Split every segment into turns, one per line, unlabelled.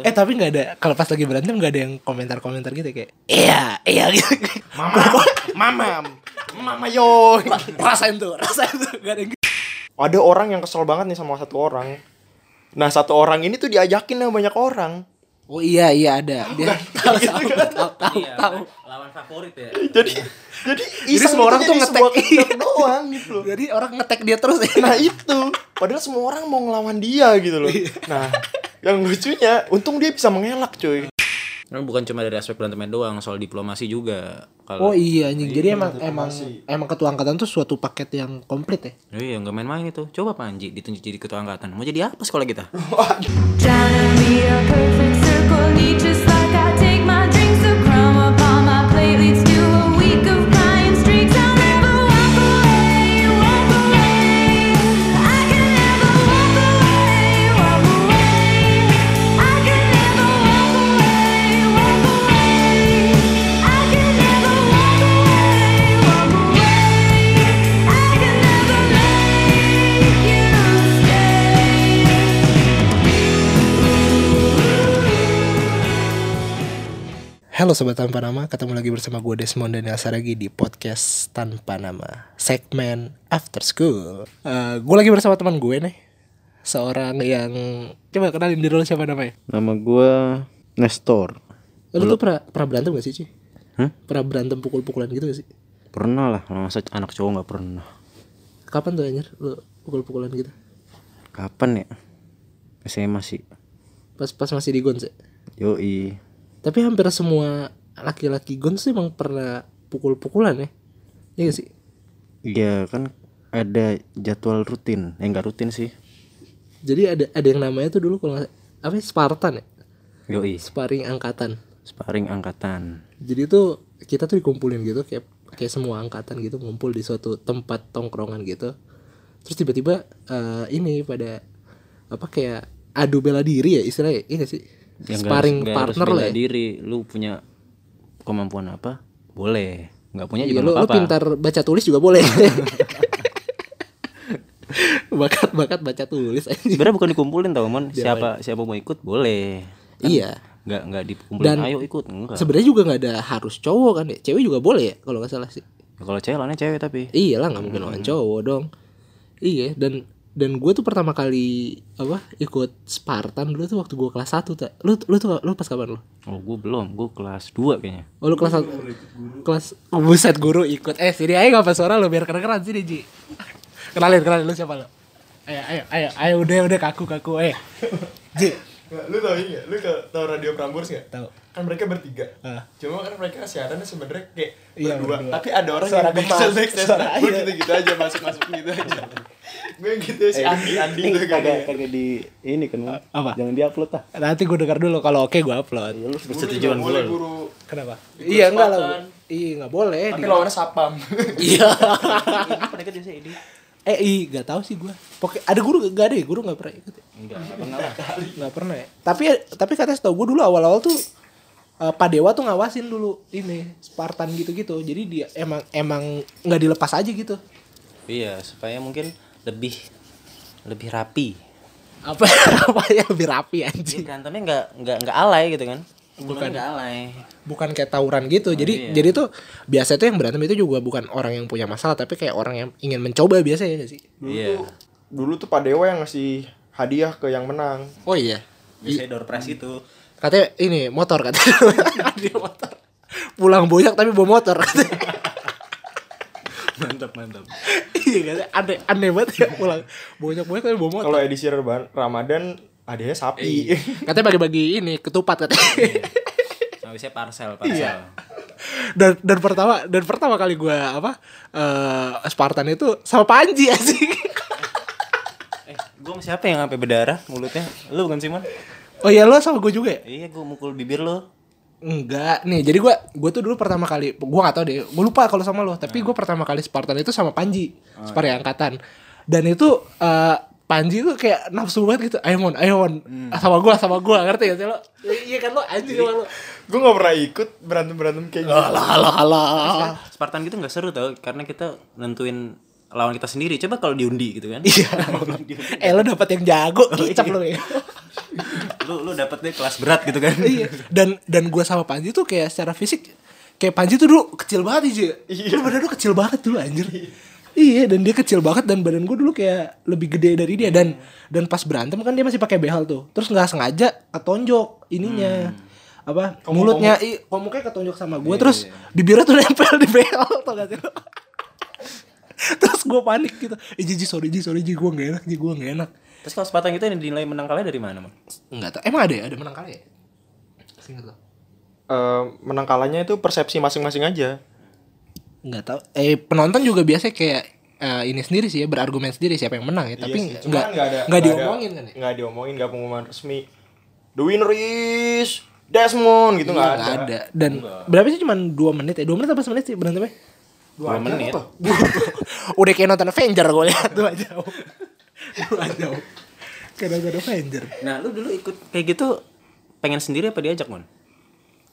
Eh tapi nggak ada kalau pas lagi berantem nggak ada yang komentar-komentar gitu kayak iya iya gitu.
Mama, mama, mama yo.
rasain tuh rasain tuh nggak ada yang gitu.
Ada orang yang kesel banget nih sama satu orang. Nah satu orang ini tuh diajakin sama banyak orang.
Oh iya iya ada gitu. dia tahu tahu tahu tahu,
Iya,
tahu.
lawan favorit ya.
Jadi jadi
Jadi
iseng
semua orang
itu
tuh
jadi
ngetek.
sebuah kendak doang gitu loh.
Jadi orang ngetek dia terus ya.
Nah itu padahal semua orang mau ngelawan dia gitu loh.
Iya.
Nah yang lucunya untung dia bisa mengelak cuy.
Kan bukan cuma dari aspek berantemen doang, soal diplomasi juga.
Oh
Kalau
iya anjing. Jadi emang
itu
emang
masih.
emang ketua angkatan tuh suatu paket yang komplit ya.
iya nggak main-main itu. Coba Pak Anji ditunjuk jadi ketua angkatan. Mau jadi apa sekolah kita?
Trying to be a perfect circle, neat just like I take my drinks. A crumb upon my plate leads to a week of crying streaks. I'll never walk away, walk away. I can never walk away, walk away. I can never walk away, walk away. I can never walk away, walk away. I can never make you stay.
Halo Sobat Tanpa Nama, ketemu lagi bersama gue Desmond Daniel Saragi di podcast Tanpa Nama Segmen After School Eh, Gue lagi bersama teman gue nih Seorang yang, coba kenalin diri lo siapa namanya
Nama gue Nestor.
Eh, Lu tuh pernah, pernah berantem gak sih Ci?
Hah?
Pernah berantem pukul-pukulan gitu gak sih?
Pernah lah, masa anak cowok nggak pernah.
Kapan tuh anjir lu pukul-pukulan gitu?
Kapan ya? SMA sih.
Pas pas masih di Gons ya?
Yoi.
Tapi hampir semua laki-laki Gons tuh emang pernah pukul-pukulan ya? Iya gak sih?
Iya kan ada jadwal rutin. Eh nggak rutin sih.
Jadi ada ada yang namanya tuh dulu kalau nggak- apa ya, Spartan ya?
Yoi.
Sparring angkatan
Sparring angkatan.
jadi itu kita tuh dikumpulin gitu kayak kayak semua angkatan gitu ngumpul di suatu tempat tongkrongan gitu terus tiba-tiba eh, ini pada apa kayak adu bela diri ya istilahnya ini sih
Ya, nggak
sparring
harus- nggak harus
partner
bela
lah ya
diri. Lu punya kemampuan apa? Boleh. Nggak punya
Iya,
juga
lu,
nggak
lu
apa-apa.
pintar baca tulis juga boleh bakat bakat baca tulis aja
Sebenarnya bukan dikumpulin tau mon. Siapa siapa mau ikut boleh.
iya
Nggak nggak dikumpulin.
Dan-
Ayo ikut. Enggak.
Iya. sebenarnya juga nggak ada harus cowok kan ya cewek juga boleh ya kalau nggak salah sih
Ya, kalau cewek lawannya cewek tapi.
Iya lah nggak
Hmm.
mungkin lawan cowok dong. Iya dan dan gue tuh pertama kali apa ikut Spartan dulu tuh waktu gue kelas 1 tak. Lu lu tuh lu pas kapan lu?
Oh gue belum. Gue kelas 2 kayaknya.
Oh lu kelas 1. Kelas oh, buset guru ikut. Eh sini aja enggak apa suara lu biar keren-keren sini Ji. Kenalin kenalin lu siapa lu? Ayo ayo ayo ayo udah udah kaku kaku eh. Ji.
Lu tau ini nggak? Lu tau- tau radio Prambors nggak?
Tahu.
Kan mereka bertiga.
Ah.
Cuma kan mereka siarannya sebenarnya kayak
Iya,
berdua.
berdua.
Tapi ada orang
Suara
yang backstage
gemas.
backstage.
Suara
Gue
iya.
gitu-gitu aja masuk-masuk gitu aja. Gue gitu
Eh,
si
iya.
Andi Andi gitu kan.
kagak kagak di ini kan Mon.
apa?
jangan diupload ah
Nanti gue dengar dulu kalau oke gue upload.
ya lu
Persetujuan gue. Boleh guru.
Kenapa? Iya enggak lah.
Spartan.
Bu. Iya enggak boleh.
Tapi
Di-
lawannya sapam.
Iya.
apa dekat biasa ini
eh iya enggak tahu sih gue. Pokoknya ada guru enggak ada ya? Guru enggak pernah ikut. ya?
enggak enggak pernah lah
nggak pernah ya tapi tapi katanya setahu gue dulu awal-awal tuh eh, Pak Dewa tuh ngawasin dulu ini Spartan gitu-gitu jadi dia emang emang nggak dilepas aja gitu
Iya, supaya mungkin lebih lebih rapi.
apa apa ya lebih rapi anjing
berantemnya nggak nggak nggak alay gitu kan? Bukan nggak alay.
bukan kayak tawuran gitu
Oh,
jadi
iya.
jadi tuh biasa tuh yang berantem itu juga bukan orang yang punya masalah tapi kayak orang yang ingin mencoba biasa ya nggak sih
Iya.
Dulu tuh Pak Dewa yang ngasih hadiah ke yang menang.
oh iya
Biasanya door prize itu.
katanya ini motor katanya dia motor pulang boyak tapi bawa motor katanya
mantap mantap.
iya katanya aneh aneh banget ya pulang boyak boyak tapi bawa motor
Kalau edisi Ramadan- Ramadan hadiahnya sapi.
Katanya bagi-bagi ini ketupat katanya.
Nah, biasanya parcel parcel.
dan dan pertama dan pertama kali gue apa eh Spartan itu sama Panji asik.
Eh, gua sama siapa yang sampai berdarah mulutnya? Lu bukan Simon?
oh iya lo sama gue juga ya?
Iya, gua mukul bibir lo.
Enggak nih jadi gue gue tuh dulu pertama kali gue gak tau deh gue lupa kalau sama lo tapi gue pertama kali Spartan itu sama Panji Spartan angkatan dan itu eh, Panji tuh kayak nafsu banget gitu ayo mon ayo mon sama gue sama gue ngerti gak sih lo iya kan lo anjing sama lo
Gue gak pernah ikut berantem-berantem kayak gitu.
alah alah alah
Spartan gitu nggak seru tau karena kita nentuin lawan kita sendiri. Iya. Coba kalau diundi gitu kan.
Iya. eh lo dapat yang jago, kicap lo ya.
lu lu dapet deh kelas berat gitu kan
iya dan dan gue sama Panji tuh kayak secara fisik kayak Panji tuh dulu kecil banget sih iya. lu badan lu kecil banget dulu anjir iya dan dia kecil banget dan badan gue dulu kayak lebih gede dari dia dan dan pas berantem kan dia masih pakai behel tuh terus nggak sengaja ketonjok ininya apa mulutnya i komuknya ketonjok sama gue terus bibirnya tuh nempel di behel tau gak sih lu? terus gue panik gitu eh jiji sorry jiji sorry jiji gue gak enak jiji gue gak enak
terus kalau sepatang itu yang dinilai menang kalah dari mana man
nggak tau emang ada ya ada menang kali ya Seingat lo
Eh, menang kalahnya itu persepsi masing-masing aja.
nggak tahu eh penonton juga biasanya kayak eh, ini sendiri sih ya berargumen sendiri siapa yang menang ya tapi
Iya
nggak
sih, cuman nggak ada-
nggak
nggak ada-
diomongin kan ya
Nggak diomongin, nggak pengumuman resmi. The winner is Desmond gitu nggak ada.
Iya, nggak ada dan berapa sih cuman dua menit ya dua menit apa semenit sih berantemnya
dua menit
udah kayak nonton Avenger gue lihat dua jauh dua jauh kadang ada Avenger
nah lu dulu ikut kayak gitu pengen sendiri apa diajak man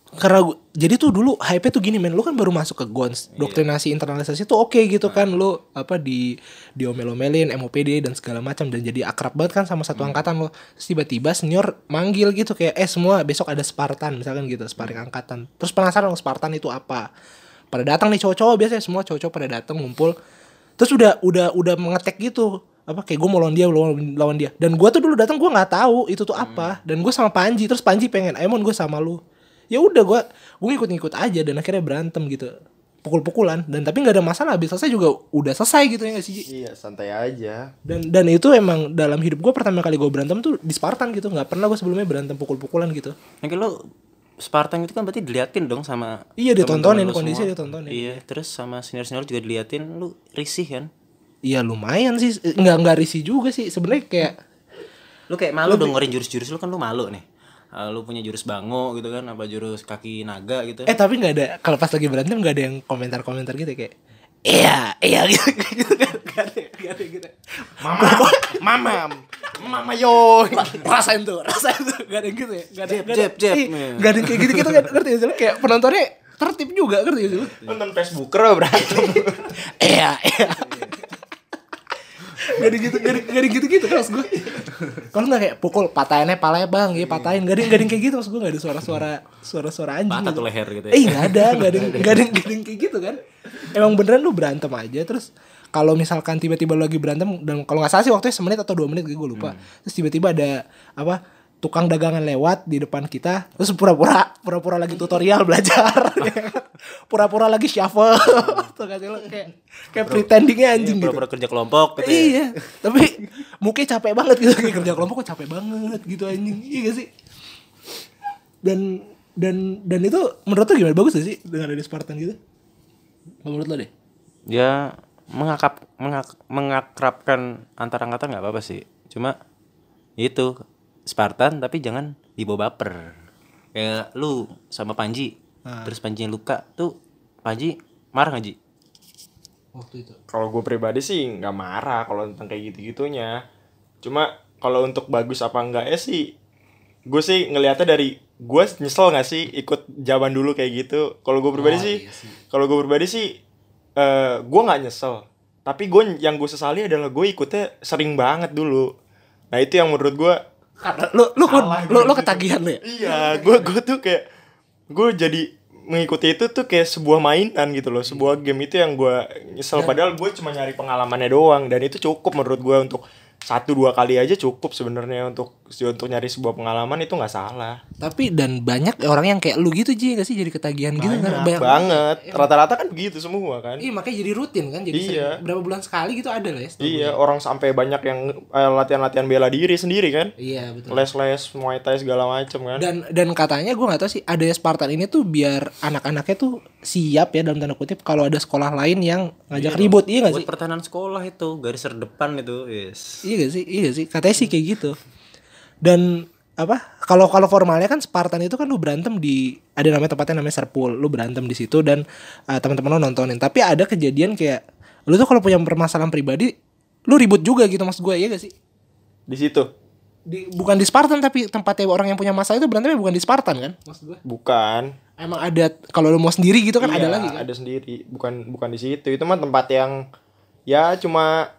karena gua- jadi tuh dulu hype tuh gini men lu kan baru masuk ke Gons doktrinasi internalisasi tuh oke gitu kan lu apa di diomel-omelin MOPD dan segala macam dan jadi akrab banget kan sama satu angkatan lo Terus tiba-tiba senior manggil gitu kayak eh semua besok ada Spartan misalkan gitu sparring angkatan terus penasaran dong, Spartan itu apa pada datang nih cowok-cowok biasanya semua cowok-cowok pada datang ngumpul terus udah udah udah mengetek gitu apa kayak gue mau lawan dia lawan, lawan dia dan gue tuh dulu datang gue nggak tahu itu tuh apa dan gue sama Panji terus Panji pengen ayo gue sama lu ya udah gue gue ngikut-ngikut aja dan akhirnya berantem gitu pukul-pukulan dan tapi nggak ada masalah habis selesai juga udah selesai gitu ya nggak sih Ji?
Iya santai aja.
dan dan itu emang dalam hidup gue pertama kali gue berantem tuh di Spartan gitu nggak pernah gue sebelumnya berantem pukul-pukulan gitu
Nah, lo Spartan itu kan berarti diliatin dong sama
Iya, ditontonin,
teman-teman lu
kondisi
semua.
ditontonin.
Iya, terus sama senior-senior juga diliatin, lu risih kan?
Iya lumayan sih nggak nggak risih juga sih sebenarnya kayak
Lu kayak malu dong dengerin jurus-jurus lu kan lu malu nih. Ah, lu punya jurus bango gitu kan apa jurus kaki naga gitu.
eh tapi nggak ada kalau pas lagi berantem nggak ada yang komentar-komentar gitu kayak iya iya gitu gitu kan nggak ada nggak ada gitu
Mama, mama, mama yo.
rasain tuh rasain tuh nggak ada yang gitu ya nggak ada
Jab,
nggak ada-
jab, jab.
Ih, nggak ada yang kayak gitu gitu kan ngerti gak sih lu? kayak penontonnya tertib juga ngerti gak sih lu?
Nonton Facebooker berantem.
iya iya Gak ada gitu, gak ada, gak ada gitu gitu kan maksud gue Kalau gak kayak pukul, patahinnya palanya bang, ya patahin Gak ada, gak ada yang kayak gitu maksud gue, gak ada suara-suara Suara-suara anjing
Patah
gitu.
tuh leher gitu ya.
Eh gak ada, gak ada, gak ada, gak ada yang kayak gitu kan Emang beneran lu berantem aja terus kalau misalkan tiba-tiba lu lagi berantem dan kalau nggak salah sih waktunya semenit atau dua menit gitu gue lupa terus tiba-tiba ada apa tukang dagangan lewat di depan kita terus pura-pura pura-pura lagi tutorial belajar pura-pura lagi shuffle tuh kan sih lu? kayak kayak pretendingnya anjing gitu
Pura-pura kerja kelompok gitu. ya.
Iya, tapi mungkin capek banget gitu Kayak kerja kelompok kok capek banget gitu anjing. Iya gak sih? Dan dan dan itu menurut lo gimana bagus gak sih dengan ada Spartan gitu? Apa Menurut lo deh.
Dia mengakap mengak- mengakrabkan antar angkatan nggak apa-apa sih. Cuma itu Spartan tapi jangan dibawa baper. Kayak lu sama Panji,
Ah.
terus Panji luka tuh Panji marah nggak Ji?
Waktu itu.
kalau gue pribadi sih nggak marah kalau tentang kayak gitu-gitunya cuma kalau untuk bagus apa enggaknya sih gue sih ngelihatnya dari gue nyesel nggak sih ikut jawaban dulu kayak gitu kalau gue pribadi sih kalau gue pribadi sih eh gue nggak nyesel tapi gue yang gue sesali adalah gue ikutnya sering banget dulu nah itu yang menurut gue
Karena lo lo lo, lo ketagihan lo ya?
iya gue gue tuh kayak gue jadi mengikuti itu tuh kayak sebuah mainan gitu loh sebuah game itu yang gue nyesel padahal gue cuma nyari pengalamannya doang dan itu cukup menurut gue untuk satu dua kali aja cukup sebenarnya untuk untuk nyari sebuah pengalaman itu nggak salah
Tapi dan banyak orang yang kayak lu gitu Ji gak sih jadi ketagihan gitu kan?
Banyak banget rata-rata kan begitu semua kan
Iya makanya jadi rutin kan jadi
Iya.
sering. berapa bulan sekali gitu ada lah ya. setiap
iya
bulan.
orang sampai banyak yang eh, latihan-latihan bela diri sendiri kan
Iya betul.
les-les muay thai segala macem kan
dan dan katanya gue nggak tahu sih ada Spartan ini tuh biar anak-anaknya tuh siap ya dalam tanda kutip kalau ada sekolah lain yang ngajak ribut iya gak sih
Buat pertahanan sekolah itu garis terdepan itu, yes.
iya gak sih iya gak sih katanya sih kayak gitu dan apa kalau kalau formalnya kan Spartan itu kan lu berantem di ada namanya tempatnya namanya Serpul lu berantem di situ dan eh, teman-teman lu nontonin tapi ada kejadian kayak lu tuh kalau punya permasalahan pribadi lu ribut juga gitu maksud gue iya gak sih
di situ
Di- bukan di Spartan tapi tempatnya orang yang punya masalah itu berantemnya bukan di Spartan kan maksud gue
bukan
emang ada kalau lu mau sendiri gitu kan ada
Iya,
lagi kan
ada sendiri bukan bukan di situ itu mah tempat yang ya cuma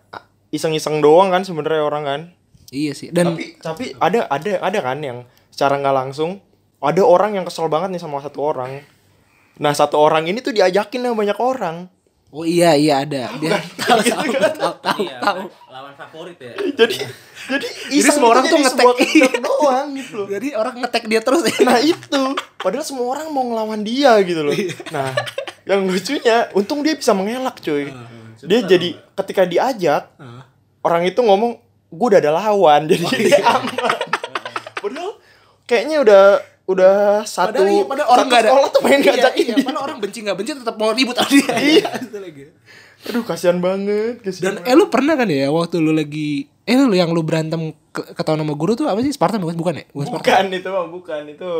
iseng-iseng doang kan sebenarnya orang kan
Iya sih. Dan
tapi ada ada ada kan yang secara nggak langsung ada orang yang kesel banget nih sama satu orang nah satu orang ini tuh diajakin sama banyak orang
Oh iya iya ada. Dia tahu Iya. tahu tahu tahu. tahu.
Iya, lawan favorit ya
jadi jadi iseng
semua
itu
orang tuh
jadi
ngetek.
sebuah kegiatan doang gitu loh
Jadi orang ngetek dia terus ya.
nah itu padahal semua orang mau ngelawan dia gitu loh
Iya.
nah yang lucunya untung dia bisa mengelak cuy
Ah,
dia jadi ketika diajak orang itu ngomong gue udah ada lawan jadi
Oh, iya.
aman padahal kayaknya udah udah satu
Padahal, iya, padahal orang
satu
nggak ada.
sekolah tuh pengen
Iya,
ngajakin
iya,
dia.
Padahal orang benci nggak benci tetap mau ribut sama dia.
Iya.
Itu lagi.
aduh kasihan banget kasihan
Dan eh lu pernah kan ya waktu lu lagi eh lu yang lu berantem ke, ketahuan sama guru tuh apa sih Spartan bukan bukan ya? Bukan Spartan.
bukan itu mah bukan itu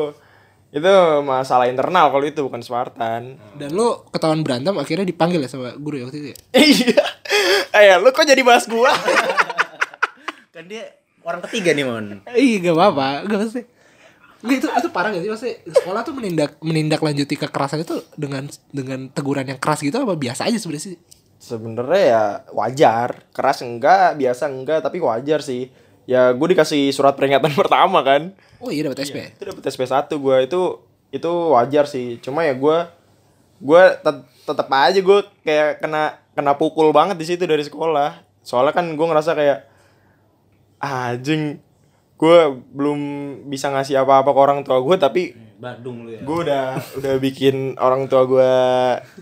itu masalah internal kalau itu bukan Spartan
Dan lu ketahuan berantem akhirnya dipanggil ya sama guru ya waktu itu ya?
iya eh lu kok jadi bahas gua
kan dia orang ketiga nih mon
Iya gak apa-apa Gak pasti Nggak, itu itu parah gak sih maksudnya sekolah tuh menindak menindaklanjuti kekerasan itu dengan dengan teguran yang keras gitu apa biasa aja sebenarnya sih
sebenarnya ya wajar keras enggak biasa enggak tapi wajar sih ya gue dikasih surat peringatan pertama kan
oh iya dapat SP
itu dapet SP1 gue itu itu wajar sih cuma ya gue gue tet- tetep aja gue kayak kena kena pukul banget di situ dari sekolah soalnya kan gue ngerasa kayak anjing gue belum bisa ngasih apa-apa ke orang tua gue tapi
Badung lu ya
gue udah udah bikin orang tua gue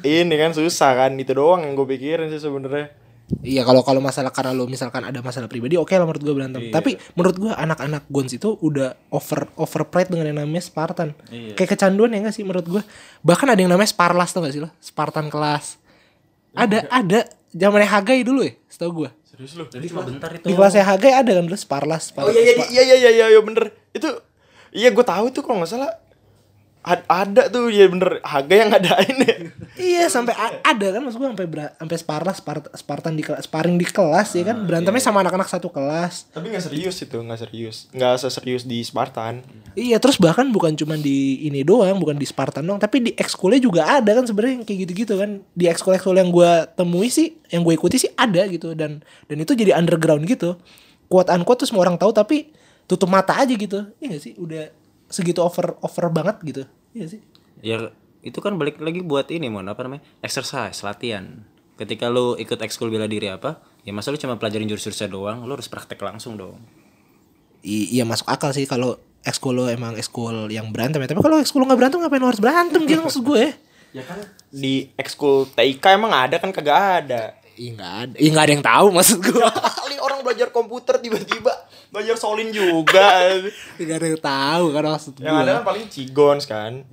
ini kan susah kan itu doang yang gue pikirin sih sebenarnya
iya kalau kalau masalah karena lo misalkan ada masalah pribadi oke lah menurut gue berantem
Iya.
tapi menurut gue anak-anak Gons itu udah over overpride dengan yang namanya Spartan
Iya.
kayak kecanduan ya gak sih menurut gue bahkan ada yang namanya Sparlas tau gak sih lo Spartan kelas ada ada zamannya Hagai dulu ya setahu gue
jadi cuma bentar itu
di kelasnya Hagai ada kan dulu Sparlas
Oh iya iya iya iya iya iya, iya bener itu iya gue tahu itu kalau nggak salah ad- ada tuh ya bener harga yang ngadain ya.
Iya sampai a- ada kan maksud gua sampai bera- sampai sparla Spart- Spartan di kelas sparring di kelas ya kan
Ah,
berantemnya
iya,
sama anak-anak satu kelas.
tapi nggak serius itu nggak serius nggak seserius di Spartan
Iya terus bahkan bukan cuma di ini doang bukan di Spartan doang tapi di ekskulnya juga ada kan sebenarnya yang kayak gitu-gitu kan di ekskul ekskul yang gua temui sih yang gue ikuti sih ada gitu dan dan itu jadi underground gitu kuat unquote tuh semua orang tahu tapi tutup mata aja gitu iya gak sih udah segitu over over banget gitu iya gak sih
ya itu kan balik lagi buat ini mon apa namanya exercise latihan ketika lu ikut ekskul bela diri apa ya masa lu cuma pelajarin jurus-jurusnya doang lu harus praktek langsung dong
I- iya masuk akal sih kalau ekskul lo emang ekskul yang berantem ya tapi kalau ekskul lo nggak berantem ngapain lo harus berantem gitu maksud gue
di ekskul TIK emang ada kan kagak ada
Iya nggak ada, iya nggak ada yang tahu maksud gue.
kali orang belajar komputer tiba-tiba belajar solin juga
Nggak ada yang tahu kan maksud gue.
yang ada kan paling Cigons kan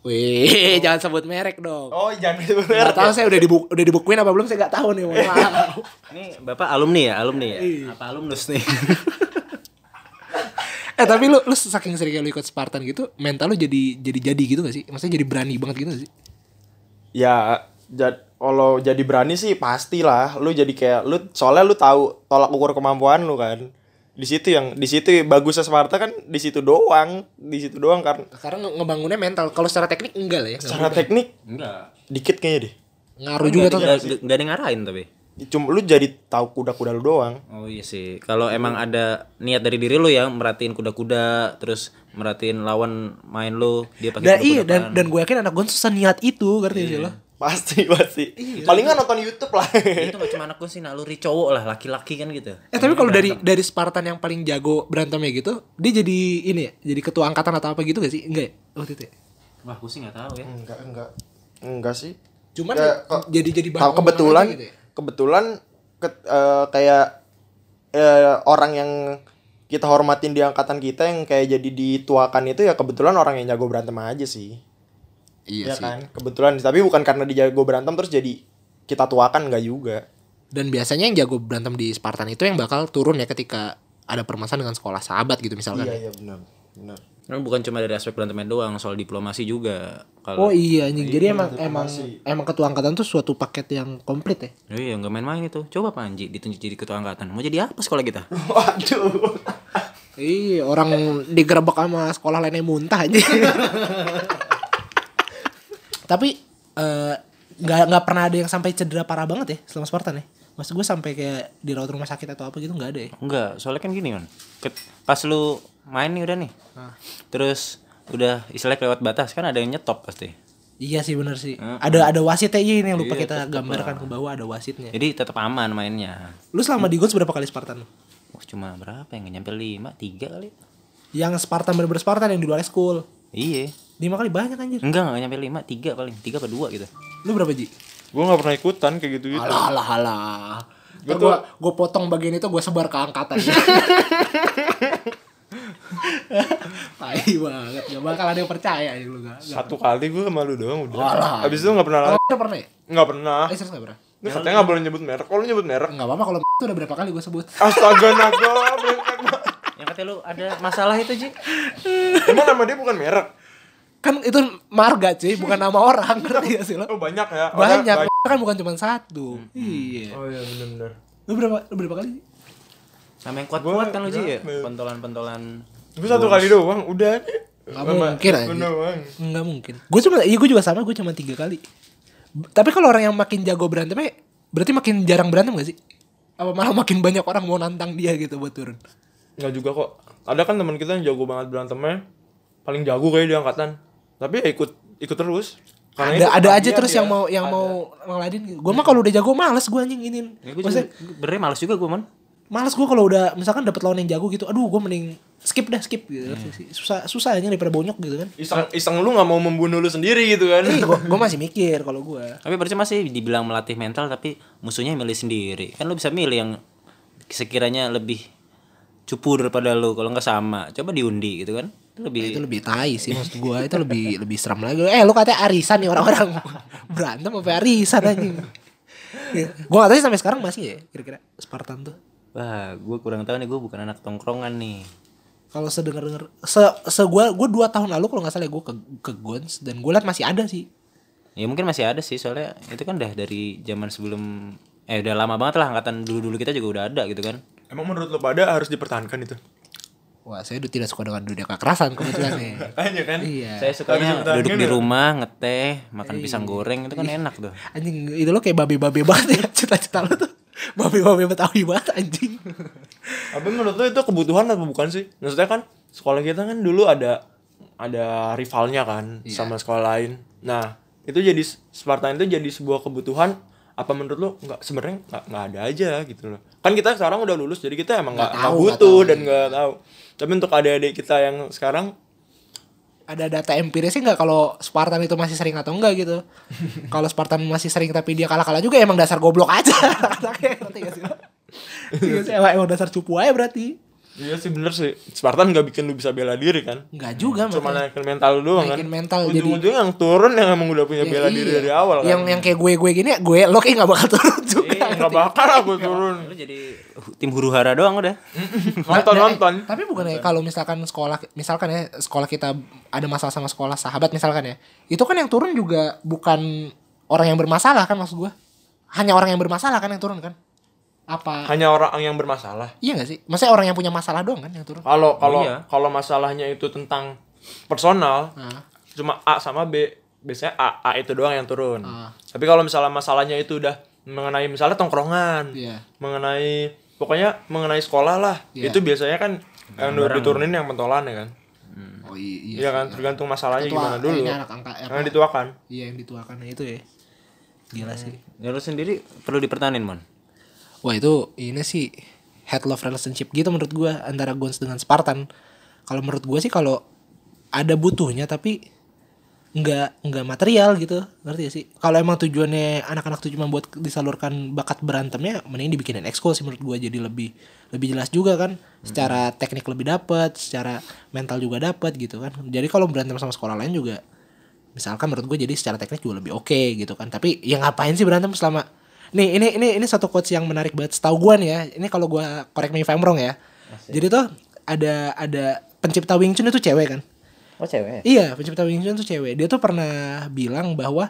Wih, jangan sebut merek dong.
oh jangan gitu
Nggak tahu saya udah dibu udah dibukuin apa belum saya nggak tahu nih. mohon
Iya.
maaf.
ini bapak alumni ya alumni ya apa alumnus nih
eh tapi lu lu saking seringnya lu ikut Spartan gitu, mental lu jadi jadi jadi gitu gak sih? Maksudnya jadi berani banget gitu gak sih?
ya jad, kalau jadi berani sih pastilah lu jadi kayak lu soalnya lu tahu tolak ukur kemampuan lu kan di situ yang di situ bagusnya Sparta kan di situ doang di situ doang karena
Karena nge- ngebangunnya mental. Kalau secara teknik enggak lah ya. nggak
secara teknik
enggak
dikit kayaknya deh
Ngaruh juga tuh.
enggak, enggak ada yang ngarahin tapi
cuma lu jadi tahu kuda-kuda lu doang
oh iya sih kalau emang ada niat dari diri lu ya merhatiin kuda-kuda terus merhatiin lawan main lu dia pakai
Dan
kuda-kuda
iya dan dan gue yakin anak gue susah niat itu, ngerti gak sih
Iya.
lo?
pasti pasti palingan nonton YouTube lah
itu gak cuma anak gue sih naluri cowok lah laki-laki kan gitu
Eh tapi
Iya,
kalau dari dari Spartan yang paling jago berantemnya gitu, dia jadi ini ya, jadi ketua angkatan atau apa gitu gak sih? Enggak ya? Waktu itu ya?
wah gue sih nggak tahu ya
enggak enggak enggak sih
Cuman
Ya, kok-
jadi jadi
Tahu kebetulan Iya
gitu ya?
kebetulan ke- eh, kayak eh, orang yang kita hormatin di angkatan kita yang kayak jadi dituakan itu ya kebetulan orang yang jago berantem aja sih.
Iya
ya kan? Kebetulan tapi bukan karena dia jago berantem terus jadi kita tuakan enggak juga.
Dan biasanya yang jago berantem di Spartan itu yang bakal turun ya ketika ada permasalahan dengan sekolah sahabat gitu misalkan.
iya benar. Benar.
Nah, bukan cuma dari aspek berantemnya doang, soal diplomasi juga.
Oh
Kalau
iya anjing. Jadi emang emang emang ketua angkatan tuh suatu paket yang komplit ya.
iya nggak main-main itu. Coba Panji ditunjuk jadi ketua angkatan. Mau jadi apa sekolah kita?
Waduh.
Iya, orang digerebek sama sekolah lainnya muntah aja. Tapi eh, nggak nggak pernah ada yang sampai cedera parah banget ya selama Spartan ya? Maksud gue sampai kayak dirawat rumah sakit atau apa gitu nggak ada ya?
Enggak, soalnya kan gini kan. Ket- Pas lu main nih udah nih. Terus udah istilahnya lewat batas kan ada yang nyetop pasti.
Iya sih bener sih. Ada ada wasitnya iya ini yang lupa kita gambarkan ke bawah ada wasitnya.
Jadi tetap aman mainnya.
Lu selama di Gods berapa kali Spartan?
Wah, cuma berapa yang nyampe 5, 3 kali.
Yang Spartan bener-bener Spartan yang di luar school.
Iya.
Lima kali banyak anjir.
Enggak, enggak nyampe 5, 3 paling. 3 apa 2 gitu.
Lu berapa Ji?
Gue gak pernah ikutan kayak gitu-gitu.
Alah alah alah. Gue
Gua tuh-
gue potong bagian itu gue sebar ke angkatan. Tai banget, gak bakal ada yang percaya ya lu gak.
Satu kali gue sama lu doang udah.
Alah.
Abis itu gak pernah
Kalau
lagi. Ah.
lu pernah ya?
Gak pernah.
Eh serius gak pernah?
Lu katanya gak boleh nyebut merek. Kalau lu nyebut merek.
Gak apa-apa kalau itu udah berapa kali gue sebut
Astaga naga. bengkak banget.
Yang katanya lu ada masalah itu, Ji.
Emang nama dia bukan merek?
Kan itu marga cuy, bukan nama orang Ngerti gak sih lo?
Oh banyak ya. Orang
Banyak, kan bukan cuma satu Iya
Oh iya bener-bener.
Lu berapa, lu berapa kali?
Sama yang
Gua-
kuat-kuat kan lu, Ji. ya?
gua-
Pentolan-pentolan.
Gue satu kali doang. Udah.
Gak mungkin aja
Bener doang.
Gak mungkin Gue cuma, iya gue juga sama, gue cuma tiga kali B- Tapi kalau orang yang makin jago berantemnya Berarti makin jarang berantem gak sih? Apa malah makin banyak orang mau nantang dia gitu buat turun
Enggak juga kok. Ada kan teman kita yang jago banget berantemnya. Paling jago kayak di angkatan. Tapi ya ikut ikut terus.
ada
itu
ada aja
latihan
terus
ya.
yang mau yang
Ada.
mau ngeladin gue mah kalau udah jago males gue anjing inin
Ya, gue juga,
maksudnya
benernya males juga gue, Mon.
males gue kalau udah misalkan dapet lawan yang jago gitu aduh gue mending skip dah skip gitu susah susah aja daripada bonyok gitu kan
Iseng iseng lu nggak mau membunuh lu sendiri gitu kan.
Ih, gue gue masih mikir kalau gue
Tapi berarti masih dibilang melatih mental tapi musuhnya yang milih sendiri. Kan lu bisa milih yang sekiranya lebih cupu daripada lu kalau nggak sama. Coba diundi gitu kan. Itu lebih
Nah, itu lebih tai sih maksud gue itu lebih lebih seram lagi eh lu katanya arisan nih orang-orang berantem apa arisan anjing Iya. gue gak tau sih sampai sekarang masih ya kira-kira Spartan tuh
wah, gue kurang tahu nih gue bukan anak tongkrongan nih.
kalau sedengar dengar se se gue gue dua tahun lalu kalau nggak salah gue ke ke Gons dan gue liat masih ada sih
Ya mungkin masih ada sih soalnya itu kan dah dari zaman sebelum eh udah lama banget lah angkatan dulu-dulu kita juga udah ada gitu kan.
Emang menurut lu pada harus dipertahankan itu?
Wah, saya udah tidak suka dengan dunia kekerasan kebetulan nih.
Tanya kan?
iya.
Saya sukanya
dipertahankan
duduk di
ya?
rumah, ngeteh, makan pisang goreng itu kan enak tuh.
Anjing, itu lo kayak babe-babe banget ya. Cita-cita lo tuh babe-babe Betawi banget anjing.
Tapi menurut lu itu kebutuhan atau bukan sih? Maksudnya kan sekolah kita kan dulu ada ada rivalnya kan
Iya.
sama sekolah lain. Nah, itu jadi Spartan itu jadi sebuah kebutuhan apa menurut lu nggak sebenarnya nggak nggak ada aja gitu loh. Kan kita sekarang udah lulus jadi kita emang nggak nggak
tahu, nggak
butuh dan nggak tahu. Tapi untuk adik-adik kita yang sekarang
Ada data empirisnya nggak kalau Spartan itu masih sering atau enggak gitu? kalau Spartan masih sering tapi dia kalah-kalah juga emang dasar goblok aja. Anaknya ngerti gak sih lo? Iya sih, emang, emang dasar cupu aja berarti.
Iya sih bener sih Spartan nggak bikin lu bisa bela diri kan
Enggak juga
Cuma
makanya.
naikin mental lu doang
Naikin
kan
mental, jadi-
Ujung-ujungnya yang turun yang emang udah punya
Ya,
bela diri
iya.
dari awal kan
Yang yang kayak gue-gue gini ya, gue lo kayak gak bakal turun juga.
Iya, nggak bakal aku turun
Lu jadi tim huru hara doang udah.
Nonton-nonton
Eh, tapi bukan ya kalau misalkan sekolah misalkan ya sekolah kita ada masalah sama sekolah sahabat misalkan ya. Itu kan yang turun juga bukan orang yang bermasalah kan maksud gua. Hanya orang yang bermasalah kan yang turun kan? Apa
hanya orang yang bermasalah.
iya gak sih? Maksudnya orang yang punya masalah doang kan yang turun?
Kalau kalau
iya.
kalau masalahnya itu tentang personal,
Nah,
cuma A sama B, biasanya A, A itu doang yang turun.
Ah.
Tapi kalau misalnya masalahnya itu udah mengenai misalnya tongkrongan,
Iya.
mengenai pokoknya mengenai sekolah lah,
Iya.
itu biasanya kan yang diturunin yang pentolan ya kan.
oh i- iya.
Iya kan, tergantung masalahnya
Ketua-
gimana dulu.
ini anak angka apa?
Karena dituakan.
Iya yang dituakan itu ya. Gila sih.
Ya lu sendiri perlu dipertahankan, Mon.
Wah itu ini sih head love relationship gitu menurut gua antara Gons dengan Spartan. Kalau menurut gua sih kalau ada butuhnya tapi nggak nggak material gitu ngerti gak sih kalau emang tujuannya anak-anak tuh cuma buat disalurkan bakat berantemnya mending dibikinin ekskul sih menurut gua jadi lebih lebih jelas juga kan secara teknik lebih dapat secara mental juga dapat gitu kan jadi kalau berantem sama sekolah lain juga misalkan menurut gue jadi secara teknik juga lebih oke gitu kan tapi ya ngapain sih berantem selama nih ini ini ini satu quotes yang menarik banget setahu gue nih ya ini kalau gue correct me if I'm wrong ya jadi tuh ada ada pencipta Wing Chun itu cewek kan
Oh, cewek.
Iya, pencipta Wing Chun tuh cewek. Dia tuh pernah bilang bahwa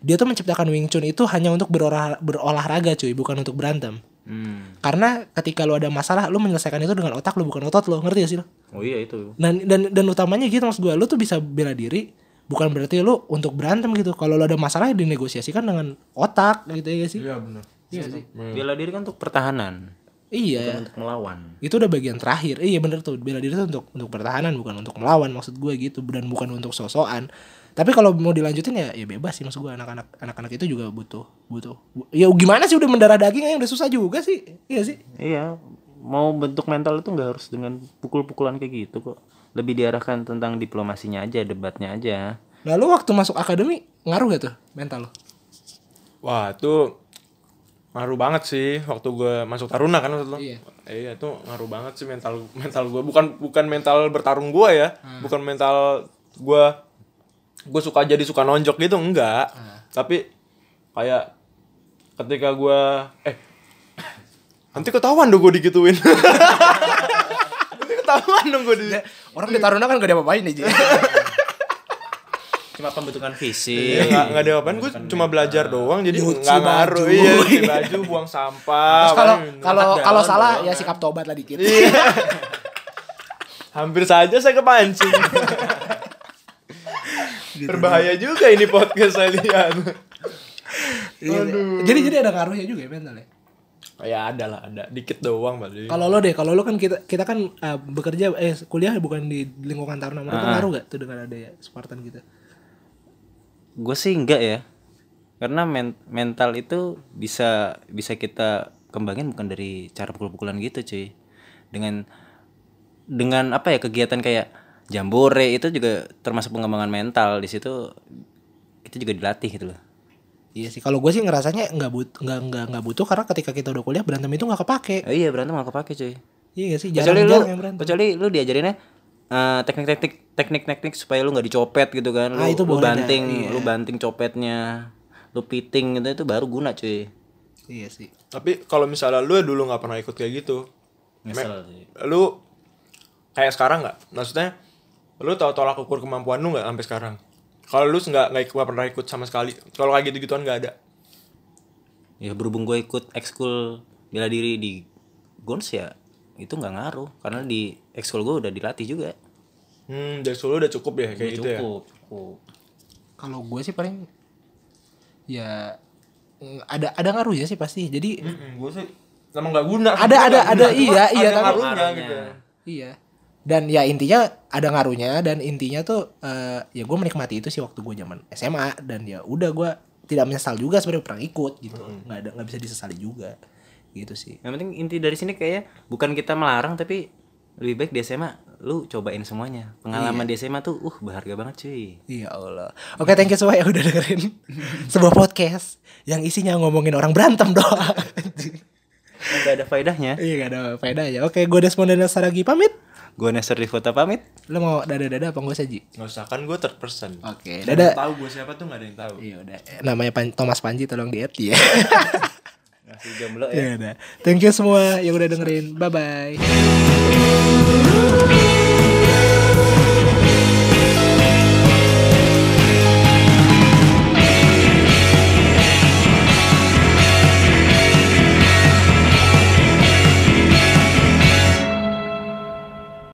dia tuh menciptakan Wing Chun itu hanya untuk berolah, berolahraga cuy, bukan untuk berantem.
Hmm.
Karena ketika lu ada masalah, lu menyelesaikan itu dengan otak lu bukan otot lu. Ngerti gak sih lu?
Oh iya itu.
Dan dan dan utamanya gitu maksud gua, lu tuh bisa bela diri bukan berarti lu untuk berantem gitu. Kalau lu ada masalah ya dinegosiasikan dengan otak gitu ya gak sih?
Iya benar.
Iya sih. Bela diri kan untuk pertahanan, bukan
Iya.
untuk melawan.
Itu udah bagian terakhir. Iya bener tuh. Bela diri tuh untuk untuk pertahanan bukan untuk melawan maksud gue gitu dan bukan untuk sosokan. Tapi kalau mau dilanjutin ya ya bebas sih maksud gue anak-anak anak-anak itu juga butuh butuh. Bu- Ya gimana sih udah mendarah daging aja udah susah juga sih. Iya sih.
Iya, mau bentuk mental itu nggak harus dengan pukul-pukulan kayak gitu kok. Lebih diarahkan tentang diplomasinya aja, debatnya aja.
Lalu waktu masuk akademi ngaruh gak tuh mental lo?
Wah, itu ngaruh banget sih waktu gue masuk taruna kan maksud lo.
Iya.
Iya, itu ngaruh banget sih mental mental gue. Bukan bukan mental bertarung gue ya,
Hmm.
bukan mental gue gue suka jadi suka nonjok gitu enggak.
Hmm.
Tapi kayak ketika gue eh nanti ketahuan dong gue digituin. nanti ketahuan dong gue di
Orang di taruna kan gak ada apa-apain aja.
Cuma pembentukan visi.
Iya nggak nggak ada apaan gue cuma belajar doang jadi
Nyuci
nggak ngaruh
baju.
iya nyuci baju buang sampah
Kalau
paling-
kalau kalau salah ya sikap tobat lah dikit.
Iya.
Hampir saja saya kepancing. Berbahaya juga ini podcast saya lihat.
Iya. Jadi jadi ada ngaruhnya juga ya mental ya.
ya ada lah, ada. Dikit doang Bali.
Kalau lo deh, kalau lo kan kita kita kan eh, bekerja eh kuliah bukan di lingkungan taruna menurut lo
Ah.
ngaruh gak tuh dengan ada ya Spartan gitu?
Gue sih enggak ya, karena men- mental itu bisa bisa kita kembangin bukan dari cara pukul-pukulan gitu cuy. Dengan dengan apa ya kegiatan kayak jambore itu juga termasuk pengembangan mental di situ kita juga dilatih gitu loh.
Iya sih, kalau gue sih ngerasanya nggak but nggak nggak nggak butuh karena ketika kita udah kuliah berantem itu nggak kepake.
Eh, iya berantem gak kepake cuy.
Iya gak sih,
kecuali
jarang
lu
jarang yang berantem.
kecuali lu diajarinnya eh, teknik-teknik teknik-teknik supaya lu nggak dicopet gitu kan lu,
Ah, itu
lu
boleh dah,
banting
iya.
lu banting copetnya lu piting gitu itu baru guna cuy
Iya sih.
Tapi kalau misalnya lu dulu nggak pernah ikut kayak gitu,
Nyesel sih.
lu kayak sekarang nggak? Maksudnya lu tahu tolak ukur kemampuan lu nggak sampai sekarang? Kalau lu nggak nggak ikut- nggak pernah ikut sama sekali, kalau kayak gitu-gituan nggak ada.
ya berhubung gue ikut ekskul bela diri di Gons ya itu nggak ngaruh karena di ekskul gue udah dilatih juga
Hmm, dari solo udah cukup ya kayak gitu ya.
cukup cukup
Kalau gue sih paling ya mm, ada ada ngaruhnya sih pasti. Jadi
gue sih emang nggak guna.
Ada- ada-
Nggak
ada,
guna.
iya, iya,
Ada
tapi-
ngaruhnya gitu.
Ngaruhnya.
Iya. Dan ya intinya ada ngaruhnya dan intinya tuh eh, ya gue menikmati itu sih waktu gue zaman SMA dan ya udah gue tidak menyesal juga sebenarnya pernah ikut gitu nggak ada nggak bisa disesali juga gitu sih
yang penting inti dari sini kayaknya bukan kita melarang tapi lebih baik di SMA lu cobain semuanya
Iya.
pengalaman di SMA tuh uh berharga banget cuy
ya Allah oke thank you semua yang udah dengerin sebuah podcast yang isinya ngomongin orang berantem doang
nggak ada faedahnya
iya gak ada faedahnya oke gue Desmond dan Saragi pamit
Gue Nestor Rifota pamit.
lo mau dada dada apa gue saji
Nggak usah kan gue third person.
oke
Nggak ada yang
dada
tahu gue siapa tuh nggak ada yang tahu.
iya udah namanya Pan- Thomas Panji tolong Iya, diet ya
Masih jomblo
ya udah thank you semua yang udah dengerin bye bye
Ooh.